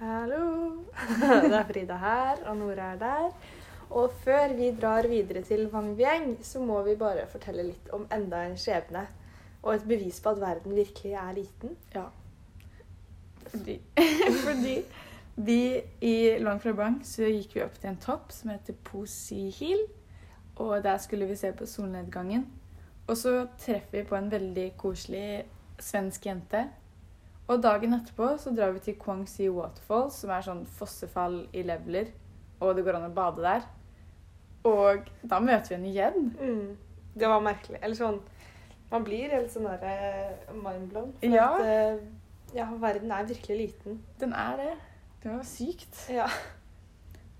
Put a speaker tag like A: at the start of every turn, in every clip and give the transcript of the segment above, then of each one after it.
A: Hallo! Det er Frida her, og Nora er der. Og før vi drar videre til Wang Bieng, så må vi bare fortelle litt om enda en skjebne. Og et bevis på at verden virkelig er liten.
B: Fordi, fordi vi i Long Fra Bang så gikk vi opp til en topp som heter Posi Hill. Og der skulle vi se på solnedgangen. Og så treffer vi på en veldig koselig svensk jente. Og dagen etterpå så drar vi til Kwangsi Waterfall, som er sånn fossefall i leveler. Og det går an å bade der. Og da møter vi henne igjen.
A: Mm. Det var merkelig. Eller sånn Man blir helt sånn der eh, mindblown. For
B: Ja.
A: at eh, ja, verden er virkelig liten.
B: Den er det. Det var sykt.
A: Ja.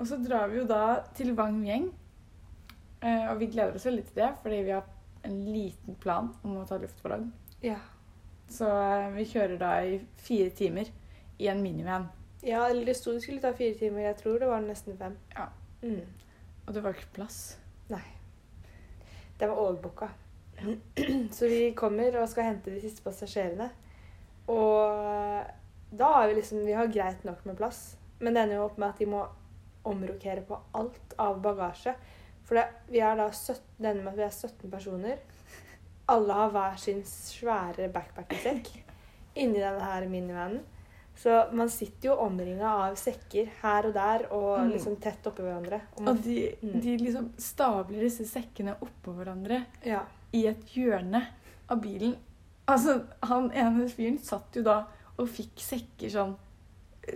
B: Og så drar vi jo da til Wang Mieng. Eh, Og vi gleder oss veldig til det, fordi vi har en liten plan om å ta luftballong.
A: Ja,
B: Så eh, vi kjører da i fire timer i en minivan.
A: ja eller det sto det skulle ta fire timer. Jeg tror det var nesten fem.
B: Ja.
A: Mm.
B: Og det var ikke plass.
A: Den var overbooka. Så vi kommer og skal hente de siste passasjerene. Og da har vi liksom Vi har greit nok med plass. Men det ender jo opp med at de må omrokere på alt av bagasje. For det, vi er da 17, det ender med at vi er 17 personer. Alle har hver sin svære backpackersekk inni denne her minivanen. Så man sitter jo omringa av sekker her og der og
B: Mm.
A: liksom tett oppi hverandre. Og man,
B: Og de,
A: Mm.
B: de liksom stabler disse sekkene oppå hverandre
A: ja.
B: i et hjørne av bilen. Altså, han ene fyren satt jo da og fikk sekker sånn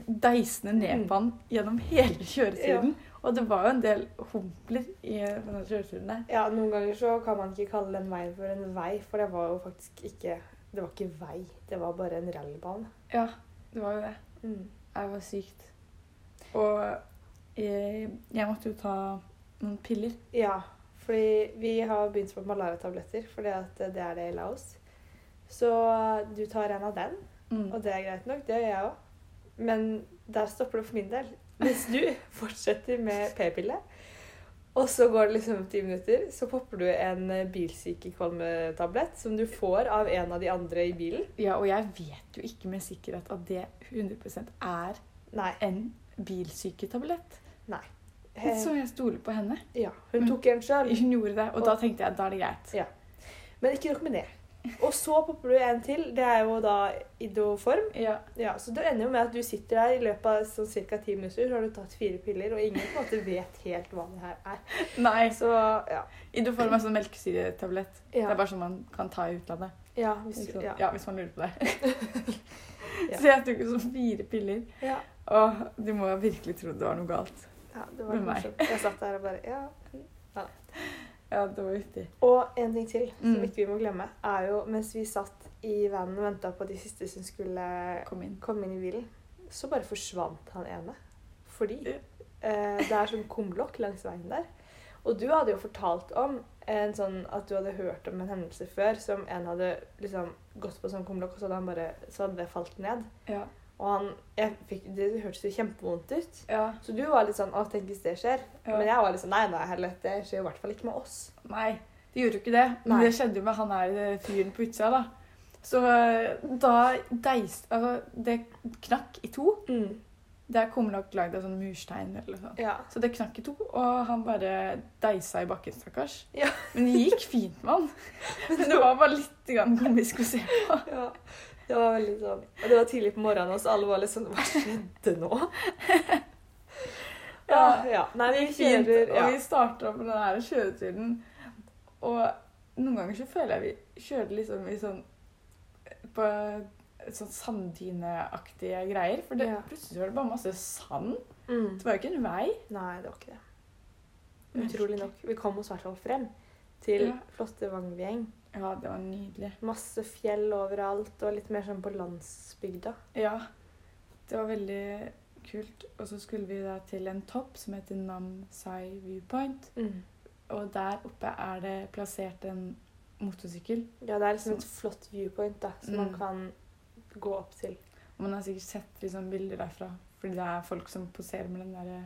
B: deisende ned
A: Mm.
B: på han gjennom hele kjøreturen. Og det var jo en del humpler i denne kjøreturen der.
A: Ja, noen ganger så kan man ikke kalle den veien for en vei, for det var jo faktisk ikke Det var ikke vei, det var bare en rallybane.
B: Ja, det var jo det.
A: Mm.
B: Det var sykt. Og jeg, jeg måtte jo ta noen piller.
A: Ja, fordi vi har begynt på malariatabletter, fordi at det er det i Laos. Så du tar en av den,
B: Mm.
A: og det er greit nok, det gjør jeg òg. Men der stopper det for min del. Hvis du fortsetter med p-pille, og så går det liksom ti minutter, så popper du en bilsykekvalmetablett som du får av en av de andre i bilen.
B: Ja, og jeg vet jo ikke med sikkerhet at det 100 er
A: Nei.
B: en bilsyketablett.
A: eh,
B: Så jeg stoler på henne.
A: Ja, hun tok en sjøl.
B: Hun gjorde det, og da tenkte jeg da er det greit.
A: Men ikke nok med det. Og så popper du en til. Det er jo da idoform.
B: Ja,
A: Ja, så det ender jo med at du sitter der i løpet av sånn ca. ti minutter, så har du tatt fire piller, og ingen på en måte vet helt hva det her er.
B: Nei,
A: Så ja.
B: Idoform er sånn melkesyretablett. Det
A: Ja,
B: er bare sånn man kan ta i utlandet.
A: ja, hvis,
B: Ikke sant?
A: ja.
B: Ja, hvis man lurer på det.
A: Ja.
B: Så jeg tok sånn fire piller.
A: ja.
B: Åh, du må virkelig tro det var noe galt.
A: ja det var
B: Med meg.
A: morsomt. Jeg satt der og bare Ja.
B: Ja, det var viktig.
A: Og en ting til som
B: Mm.
A: ikke vi må glemme, er jo mens vi satt i vanen og venta på de siste som skulle
B: Kom inn.
A: komme inn i bilen, så bare forsvant han ene. Fordi
B: Ja.
A: eh, det er sånn kumlokk langs veien der. Og du hadde jo fortalt om en sånn at du hadde hørt om en hendelse før som en hadde liksom gått på sånn kumlokk, og så hadde han bare så hadde det falt ned.
B: Ja.
A: Og han jeg fikk, Det hørtes jo kjempevondt ut.
B: ja.
A: Så du var litt sånn 'Å, tenk hvis det skjer'.
B: Ja.
A: Men jeg var litt sånn 'Nei, nei, heller, det skjer jo i hvert fall ikke med oss'.
B: Nei, det gjorde jo ikke det. Men
A: Nei.
B: det skjedde jo med han her eh, fyren på utsida, da. Så eh, da deiste Altså, det knakk i to. Det er kommer nok lagd av sånn murstein eller noe sånt.
A: Ja.
B: Så det knakk i to, og han bare deisa i bakken, stakkars.
A: Ja.
B: Men det gikk fint med han. Men det var bare litt grann komisk å se på.
A: ja. Det var veldig sånn Og det var tidlig på morgenen, og så alle var litt sånn 'Hva skjedde nå?' Ja. ja. Nei, vi
B: Fint,
A: kjører ja.
B: Og vi starta på den her kjøreturen. Og noen ganger så føler jeg vi kjører liksom i sånn På sånn sanddyneaktige greier. For det,
A: Ja.
B: plutselig var det bare masse sand.
A: Mm.
B: Det var jo ikke en vei.
A: Nei, det var ikke det. Utrolig nok. Vi kom oss i hvert fall frem til
B: Ja.
A: flotte Vangvieng.
B: Ja, det var nydelig.
A: Masse fjell overalt, og litt mer sånn på landsbygda.
B: Ja. Det var veldig kult. Og så skulle vi da til en topp som heter Nam Sai Viewpoint.
A: Mm.
B: Og der oppe er det plassert en motorsykkel.
A: Ja, det er liksom et flott viewpoint da, som man
B: Mm.
A: kan gå opp til.
B: Og man har sikkert sett liksom bilder derfra. Fordi det er folk som poserer med den der eh,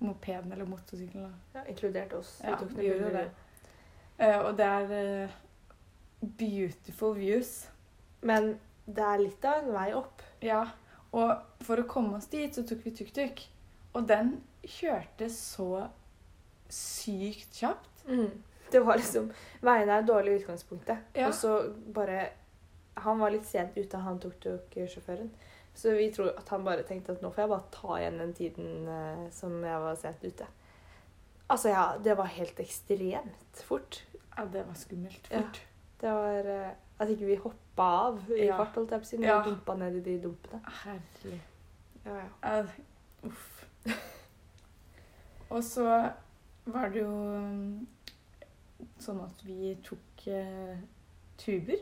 B: mopeden eller motorsykkelen. da.
A: Ja, inkludert oss.
B: Ja,
A: tok noen
B: vi gjorde
A: bilder.
B: det. Eh, og det er eh, beautiful views.
A: Men det er litt av en vei opp.
B: Ja. Og Og for å komme oss dit, så tok vi tuk-tuk. Og den kjørte så sykt kjapt.
A: Mm. Det var liksom Veiene er dårlig i utgangspunktet.
B: Ja.
A: Og så bare Han var litt sent ute, han tuk-tuk-sjåføren. Så vi tror at han bare tenkte at nå får jeg bare ta igjen den tiden eh, som jeg var sent ute. Altså, ja, det var helt ekstremt fort.
B: Ja, det var skummelt
A: Ja.
B: fort.
A: Det var eh, At ikke vi hoppa av i
B: Ja.
A: fart, holdt jeg på å si, men
B: Ja.
A: vi dumpa ned i de dumpene.
B: Herlig.
A: Ja, ja.
B: Ja, uff. Og så var det jo mm, sånn at vi tok eh, tuber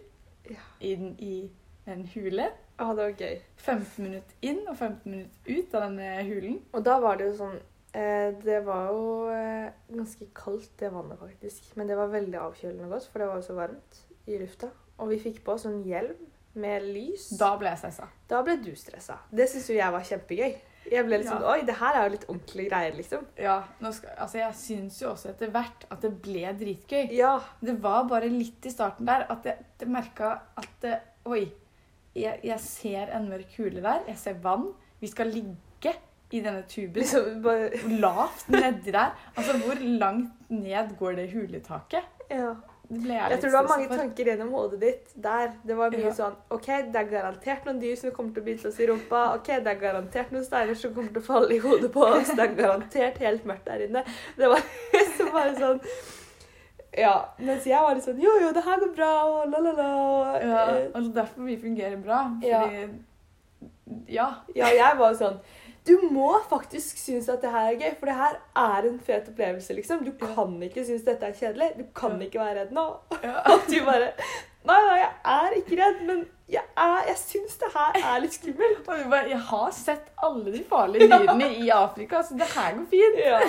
A: Ja.
B: inn i en hule.
A: Å, det var gøy.
B: 15 minutter inn og 15 minutter ut av denne hulen.
A: Og da var det jo sånn eh, Det var jo eh, ganske kaldt, det vannet, faktisk. Men det var veldig avkjølende godt, for det var jo så varmt i lufta. Og vi fikk på oss sånn hjelm med lys.
B: Da ble jeg stressa.
A: Da ble du stressa. Det syns jo jeg var kjempegøy. Jeg ble litt
B: Ja.
A: sånn Oi, det her er jo litt ordentlige greier, liksom.
B: Ja, nå skal, altså jeg syns jo også etter hvert at det ble dritgøy.
A: Ja.
B: Det var bare litt i starten der at jeg, jeg merka at det, Oi, jeg, jeg ser en mørk hule der. Jeg ser vann. Vi skal ligge i denne tuben.
A: Liksom bare
B: Lavt nedi der. Altså, hvor langt ned går det huletaket?
A: Ja.
B: Det ble jeg
A: Jeg
B: litt
A: tror det var
B: stressa
A: mange
B: for.
A: tanker gjennom hodet ditt der. Det var mye
B: Ja.
A: sånn OK, det er garantert noen dyr som kommer til å bite oss i rumpa. OK, det er garantert noen steiner som kommer til å falle i hodet på oss. Det er garantert helt mørkt der inne. Det var så bare sånn Ja. Mens jeg var litt sånn Jo, jo, det her går bra, og la, la, la. og,
B: Ja,
A: eh,
B: altså derfor vi fungerer bra.
A: Ja.
B: Fordi Ja.
A: Ja, jeg var sånn Du må faktisk synes at det her er gøy, for det her er en fet opplevelse, liksom. Du kan ikke synes dette er kjedelig. Du kan
B: Ja.
A: ikke være redd nå.
B: ja.
A: At du bare Nei, nei, jeg er ikke redd, men jeg, er, jeg syns det her er litt skummelt.
B: Og vi bare, jeg har sett alle de farlige dyrene i Afrika, så det her går fint.
A: Ja.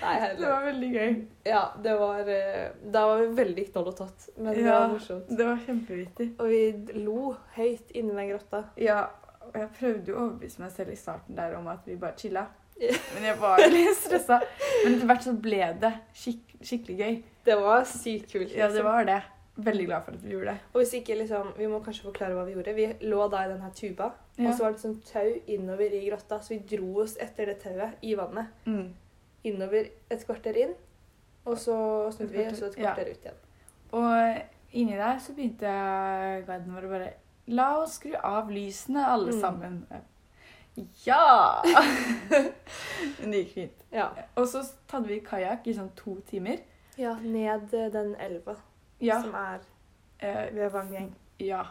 A: Nei,
B: Det
A: heller.
B: var veldig gøy.
A: Ja, det var eh, Da var vi veldig knoll og tott, men det
B: Ja.
A: var morsomt.
B: Det var kjempevittig.
A: Og vi lo høyt inni den grotta.
B: Ja, og jeg prøvde å overbevise meg selv i starten der om at vi bare chilla.
A: Ja.
B: Men jeg var litt stressa. Men etter hvert så ble det skikk skikkelig gøy.
A: Det var sykt kult.
B: Ja, det
A: liksom.
B: var det. Veldig glad for at vi gjorde det.
A: Og hvis ikke, liksom Vi må kanskje forklare hva vi gjorde. Vi lå da i den her tuba,
B: Ja.
A: og så var det sånn tau innover i grotta, så vi dro oss etter det tauet i vannet.
B: Mm.
A: Innover et kvarter inn, og så snudde vi, og så et
B: Ja.
A: kvarter ut igjen.
B: Og inni der så begynte jeg guiden vår å bare La oss skru av lysene, alle
A: Mm.
B: sammen. Ja! Men det gikk fint.
A: Ja.
B: Og så hadde vi kajakk i sånn to timer.
A: ja. Ned eh, den elva.
B: Ja.
A: som er
B: eh,
A: ved Vangjeng.
B: ja.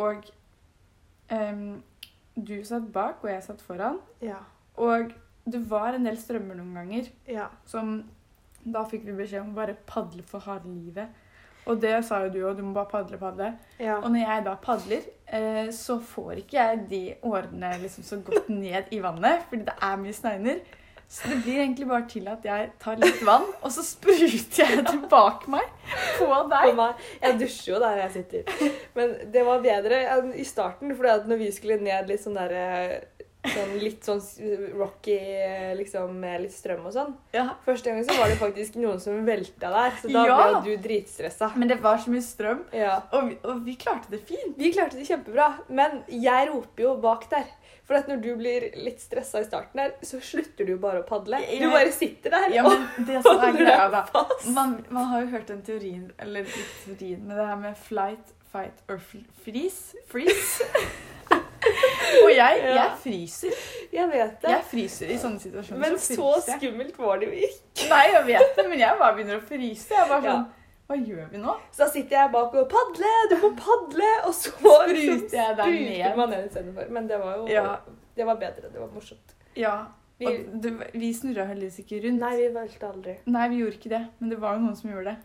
B: Og em, du satt bak, og jeg satt foran.
A: Ja.
B: Og det var en del strømmer noen ganger
A: ja.
B: som Da fikk vi beskjed om å bare padle for harde livet. Og det sa jo du òg, du må bare padle, padle.
A: ja.
B: Og når jeg da padler, eh, så får ikke jeg de årene liksom så godt ned i vannet, fordi det er mye steiner. Så det blir egentlig bare til at jeg tar litt vann, og så spruter jeg det bak meg på
A: For
B: deg.
A: meg, jeg dusjer jo der jeg sitter. Men det var bedre enn i starten, for når vi skulle ned litt sånn der eh, sånn Litt sånn s- rocky, eh, liksom, med litt strøm og sånn.
B: Ja.
A: Første gangen så var det faktisk noen som velta der, så da
B: Ja.
A: ble du dritstressa.
B: Men det var så mye strøm,
A: Ja.
B: og vi, og vi klarte det fint.
A: Vi klarte det kjempebra, men jeg roper jo bak der. For at når du blir litt stressa i starten der, så slutter du jo bare å padle. Du
B: Ja.
A: bare sitter der.
B: Ja, men det som er
A: holder deg
B: greia, da
A: fast.
B: man, man har jo hørt den teorien, eller ikke teorien, men det her med flight, fight or fl- freeze. Freeze. og jeg,
A: Ja.
B: jeg fryser.
A: Jeg vet det.
B: Jeg fryser i sånne situasjoner.
A: Men så
B: fryser jeg.
A: skummelt var det jo ikke.
B: Nei, jeg vet det, men jeg bare begynner å fryse. Jeg bare
A: Ja.
B: sånn, Hva gjør vi nå?
A: Så da sitter jeg bak og padle, du må padle, og så liksom
B: Spruter jeg deg ned.
A: spruter man ned istedenfor. Men det var jo
B: Ja.
A: Det var bedre. Det var morsomt.
B: Ja,
A: Vi,
B: og det, vi snurra heldigvis ikke rundt.
A: nei, vi valgte aldri.
B: Nei, vi gjorde ikke det, men det var jo noen som gjorde det.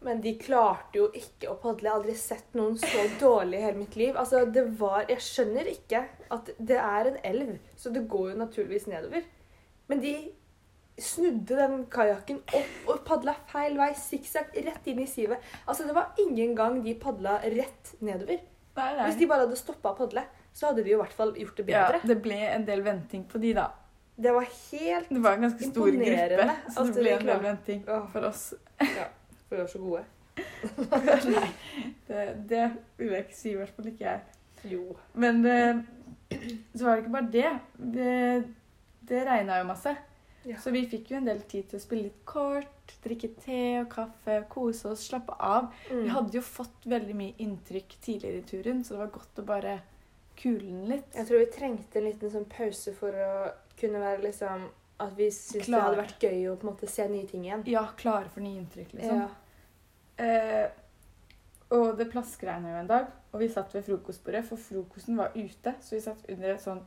A: Men de klarte jo ikke å padle. Jeg har aldri sett noen så dårlig i hele mitt liv. Altså, det var Jeg skjønner ikke at det er en elv, så det går jo naturligvis nedover. Men de snudde den kajakken opp og padla feil vei, sikksakk, rett inn i sivet. Altså, det var ingen gang de padla rett nedover.
B: Nei, nei.
A: Hvis de bare hadde stoppa å padle, så hadde de jo i hvert fall gjort det
B: ja,
A: bedre.
B: det ble en del venting på de, da.
A: Det var helt
B: Det var en ganske stor
A: Imponerende Altså,
B: gruppe, så
A: at
B: det ble
A: de
B: en del
A: klarte-
B: venting
A: Åh,
B: for oss.
A: Vi var så gode.
B: Nei, det, det vil jeg ikke si, i hvert fall ikke jeg.
A: Jo.
B: Men eh, så var det ikke bare det. Det, det regna jo masse.
A: Ja.
B: Så vi fikk jo en del tid til å spille litt kort, drikke te og kaffe, kose oss, slappe av. Vi
A: Mm.
B: hadde jo fått veldig mye inntrykk tidligere i turen, så det var godt å bare kule den litt.
A: Jeg tror vi trengte en liten sånn pause for å kunne være liksom At vi syntes det
B: Klar.
A: hadde vært gøy å på en måte se nye ting igjen.
B: Ja, klare for nye inntrykk, liksom.
A: Ja.
B: Eh, og det plaskregna jo en dag, og vi satt ved frokostbordet, for frokosten var ute. Så vi satt under et sånt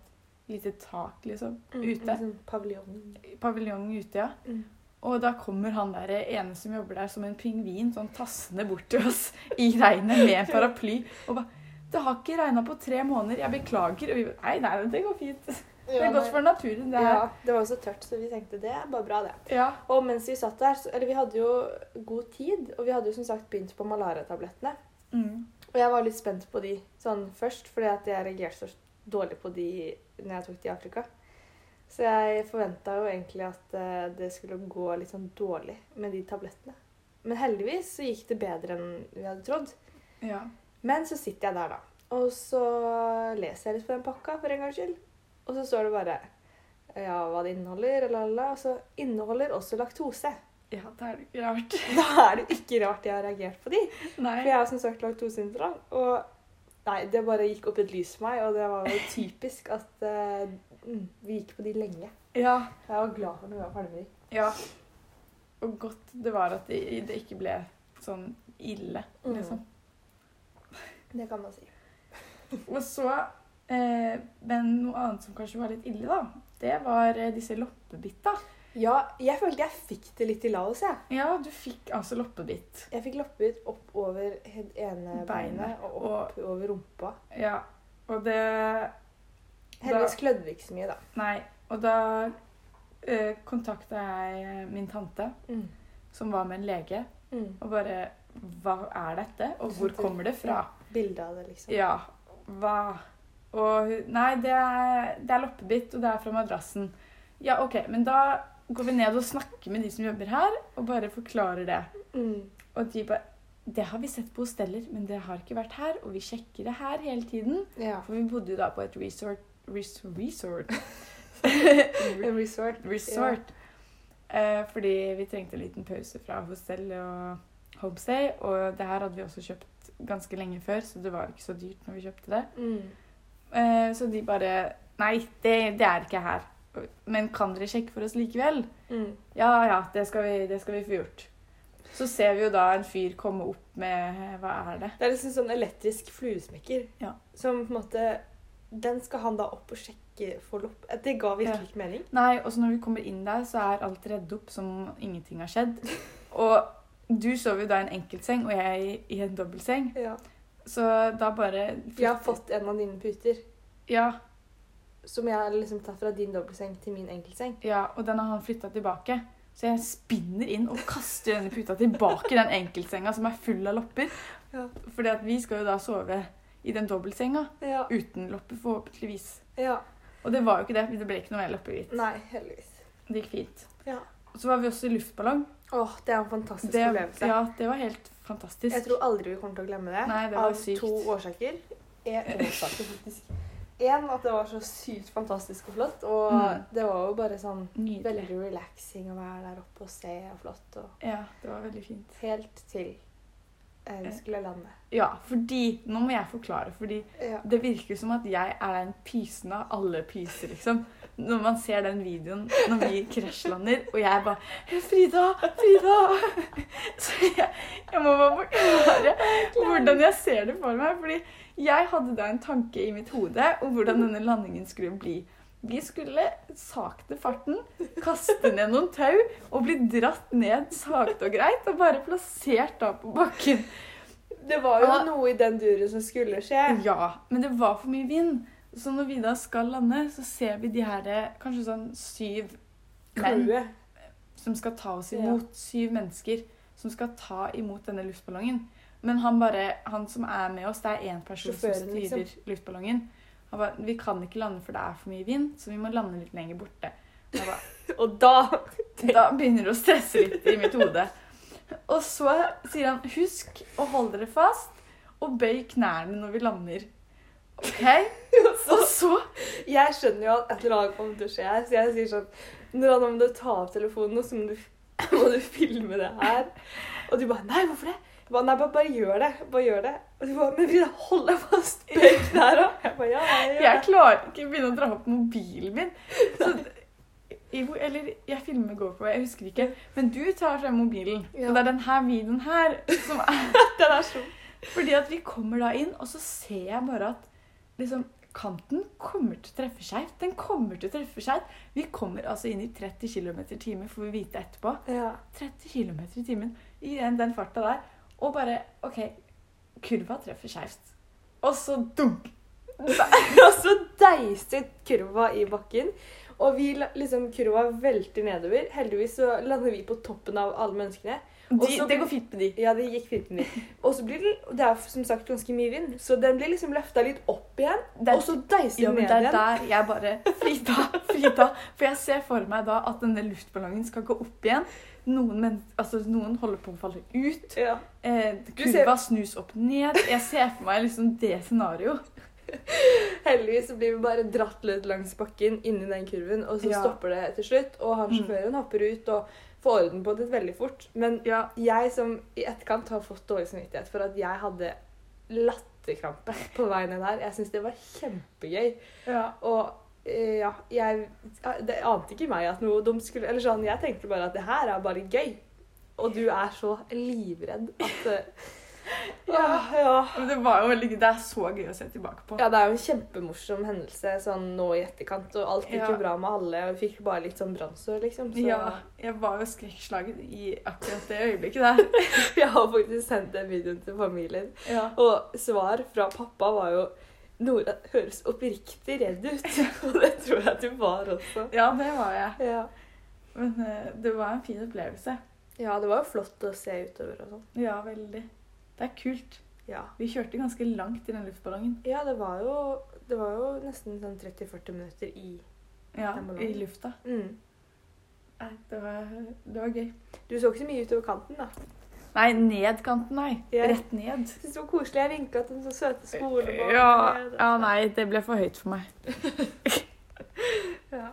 B: lite tak, liksom.
A: Mm,
B: Ute.
A: en sånn paviljong.
B: Paviljong ute, ja.
A: Mm.
B: Og da kommer han der ene som jobber der, som en pingvin, sånn tassende bort til oss i regnet med en paraply. Og bare 'Det har ikke regna på tre måneder. Jeg beklager.' Og vi bare 'Nei, nei, det går fint. Det er godt for naturen, det her.'
A: Ja, det var jo så tørt, så vi tenkte det er bare bra, det.
B: Ja.
A: Og mens vi satt der, så, eller vi hadde jo god tid, og vi hadde jo som sagt begynt på malariatablettene.
B: Mm.
A: Og jeg var litt spent på de sånn først, fordi at jeg reagerte så dårlig på de når jeg tok de i Afrika. Så jeg forventa jo egentlig at eh, det skulle gå litt sånn dårlig med de tablettene. Men heldigvis så gikk det bedre enn vi hadde trodd.
B: ja.
A: Men så sitter jeg der, da. Og så leser jeg litt på den pakka, for en gangs skyld. Og så står det bare ja, hva det inneholder, la, la, la. Og så inneholder også laktose.
B: Ja, det er ikke rart.
A: Da er det ikke rart jeg har reagert på de.
B: Nei.
A: For jeg har som sagt laktoseintolerant, og nei, det bare gikk opp et lys for meg, og det var jo typisk at eh, mm, vi gikk på de lenge.
B: Ja.
A: Jeg var glad for når vi var ferdig med de.
B: Ja. Og godt det var at det, det ikke ble sånn ille,
A: Mm.
B: liksom.
A: Det kan man si.
B: Og så eh, Men noe annet som kanskje var litt ille, da, det var eh, disse loppebitta.
A: Ja, jeg følte jeg fikk det litt i Laos, jeg.
B: Ja, du fikk altså loppebitt.
A: Jeg fikk loppet opp over det ene
B: Beinet,
A: beinet og opp over rumpa.
B: Ja. Og det
A: Heldigvis klødde vi ikke så mye, da.
B: Nei. Og da eh, kontakta jeg eh, min tante,
A: Mm.
B: som var med en lege,
A: Mm.
B: og bare Hva er dette, og hvor kommer det fra?
A: Bilde av det, liksom.
B: Ja. Hva? Og hun Nei, det er, det er loppebitt, og det er fra madrassen. Ja, OK, men da går vi ned og snakker med de som jobber her, og bare forklarer det.
A: Mm.
B: Og de bare Det har vi sett på hosteller, men det har ikke vært her, og vi sjekker det her hele tiden.
A: ja.
B: For vi bodde jo da på et resort res, Resort?
A: En resort.
B: resort. Eh, fordi vi trengte en liten pause fra hostell og homestay, og det her hadde vi også kjøpt ganske lenge før, så det var ikke så dyrt når vi kjøpte det.
A: Mm.
B: Eh, Så de bare Nei, det, det er ikke her. Men kan dere sjekke for oss likevel?
A: Mm.
B: Ja ja, det skal vi, det skal vi få gjort. Så ser vi jo da en fyr komme opp med Hva er det?
A: Det er liksom sånn elektrisk fluesmekker.
B: Ja.
A: Som på en måte Den skal han da opp og sjekke for lopp. Eh, Det ga virkelig
B: Ja.
A: ikke mening.
B: Nei, og så når vi kommer inn der, så er alt redd opp som om ingenting har skjedd. Og du sov jo da i en enkeltseng, og jeg i en dobbeltseng.
A: Ja.
B: Så da bare
A: Jeg har fått en av dine puter
B: Ja,
A: som jeg har liksom tatt fra din dobbeltseng til min enkeltseng.
B: Ja, og den har han flytta tilbake. Så jeg spinner inn og kaster denne puta tilbake i den enkeltsenga som er full av lopper.
A: Ja.
B: Fordi at vi skal jo da sove i den dobbeltsenga
A: Ja.
B: uten lopper, forhåpentligvis.
A: ja.
B: Og det var jo ikke det. Det ble ikke noe mer loppehvit.
A: Nei, heldigvis.
B: Det gikk fint.
A: Ja.
B: Og så var vi også i luftballong.
A: Åh, det er en fantastisk
B: Det,
A: opplevelse.
B: ja, det var helt fantastisk.
A: Jeg tror aldri vi kommer til å glemme det.
B: Nei, det var
A: av
B: sykt.
A: to årsaker. En, årsaker faktisk. en, at det var så sykt fantastisk og flott. Og
B: Mm.
A: det var jo bare sånn
B: Nydelig.
A: veldig relaxing å være der oppe og se og flott. Og
B: Ja, det var veldig fint.
A: helt til eh, vi skulle lande.
B: Ja, fordi Nå må jeg forklare, fordi
A: Ja.
B: Det virker som at jeg er den pysen av alle pyser, liksom. Når man ser den videoen når vi krasjlander, og jeg bare 'Frida! Frida!' Så jeg, jeg må bare forklare hvordan jeg ser det for meg. Fordi jeg hadde da en tanke i mitt hode om hvordan denne landingen skulle bli. Vi skulle sakte farten, kaste ned noen tau og bli dratt ned sakte og greit. Og bare plassert da på bakken.
A: Det var jo
B: Ah.
A: noe i den duren som skulle skje.
B: Ja, men det var for mye vind. Så når vi da skal lande, så ser vi de her eh, kanskje sånn syv menn
A: Crewet.
B: som skal ta oss
A: Ja.
B: imot. Syv mennesker som skal ta imot denne luftballongen. Men han bare, han som er med oss, det er én person
A: Sjåføren, liksom.
B: som styrer luftballongen. Han bare, Vi kan ikke lande, for det er for mye vind, så vi må lande litt lenger borte. Jeg bare,
A: Og da
B: da begynner det å stresse litt i mitt hode. Og så sier han 'husk å holde dere fast og bøy knærne når vi lander'. OK? Og så
A: Jeg skjønner jo at et eller annet kommer til å skje her, så jeg sier sånn Nå må du ta opp telefonen, og så må du, må du filme det her. Og de bare Nei, hvorfor det? Jeg bare, Nei, bare, bare gjør det. Bare gjør det. Og de bare Men vi holder fast begge der òg. Jeg bare Ja, jeg gjør
B: Jeg
A: det.
B: klarer ikke å begynne å dra opp mobilen min. Så, I hvor- eller jeg filmer GoPro, jeg husker ikke. Men du tar frem mobilen.
A: Ja.
B: Og det er den her videoen her som er
A: Den er så
B: Fordi at vi kommer da inn, og så ser jeg bare at liksom Kanten kommer til å treffe skeivt. Den kommer til å treffe skeivt. Vi kommer altså inn i 30 km i timen, får vi vite etterpå.
A: Ja.
B: 30 km i timen i den, den farta der. Og bare OK, kurva treffer skeivt. Og så dunk!
A: Og så deiset kurva i bakken. Og vi la- liksom, kurva velter nedover. Heldigvis så lander vi på toppen av alle menneskene. Og
B: De,
A: så-
B: det går fint med de.
A: Ja, det gikk fint med dem. Og så blir den, og det er som sagt ganske mye vind, så den blir liksom løfta litt opp igjen.
B: Det er-
A: og så deiser
B: Ja,
A: den
B: men
A: ned
B: det er
A: igjen.
B: der jeg bare Frida, Frida. For jeg ser for meg da at denne luftballongen skal gå opp igjen. Noen, men, altså, noen holder på å falle ut.
A: Ja.
B: Eh,
A: Du ser-
B: kurva snus opp ned. Jeg ser for meg liksom det scenarioet.
A: Heldigvis så blir vi bare dratt litt langs bakken inni den kurven, og så
B: Ja.
A: stopper det til slutt. Og han
B: Mm.
A: sjåføren hopper ut og får orden på det veldig fort. Men
B: Ja.
A: jeg som i etterkant har fått dårlig samvittighet for at jeg hadde latterkrampe på vei ned der. Jeg syns det var kjempegøy. Og eh, ja, jeg Det ante ikke meg at noe de skulle Eller sånn, jeg tenkte bare at det her er bare gøy. Og du er så livredd at eh, Åh, ja.
B: Men det var jo veldig gøy. Det er så gøy å se tilbake på.
A: Ja, det er jo en kjempemorsom hendelse sånn nå i etterkant, og alt gikk
B: Ja.
A: jo bra med alle, og vi fikk bare litt sånn brannsår, liksom. Så
B: Ja, jeg var jo skrekkslagen i akkurat det øyeblikket der.
A: jeg har faktisk sendt den videoen til familien.
B: Ja.
A: Og svar fra pappa var jo Nora høres oppriktig redd ut, og det tror jeg du var også.
B: Ja, det var jeg.
A: Ja.
B: Men eh, det var en fin opplevelse.
A: ja, det var jo flott å se utover og sånn.
B: Ja, veldig. Det er kult.
A: Ja.
B: Vi kjørte ganske langt i den luftballongen.
A: ja, det var jo, det var jo nesten sånn 30-40 minutter i.
B: Ja,
A: Den ballongen.
B: i lufta.
A: Mm.
B: Nei, Det var, det var gøy.
A: Du så ikke så mye utover kanten, da.
B: Nei, ned kanten, nei.
A: Ja.
B: Rett ned.
A: Jeg synes det var koselig. Jeg vinka til den så søte skolebarn.
B: Ja, ja, nei, det ble for høyt for meg.
A: Ja.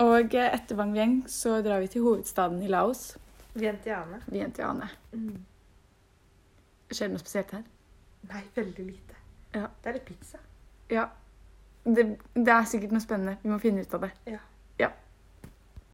B: Og eh, etter Bang Vieng så drar vi til hovedstaden i Laos,
A: Vientiane.
B: Vientiane. Skjer det noe spesielt her?
A: Mm. Nei, veldig lite.
B: Ja.
A: Det er litt pizza.
B: Det, det er sikkert noe spennende. Vi må finne ut av det.
A: Ja.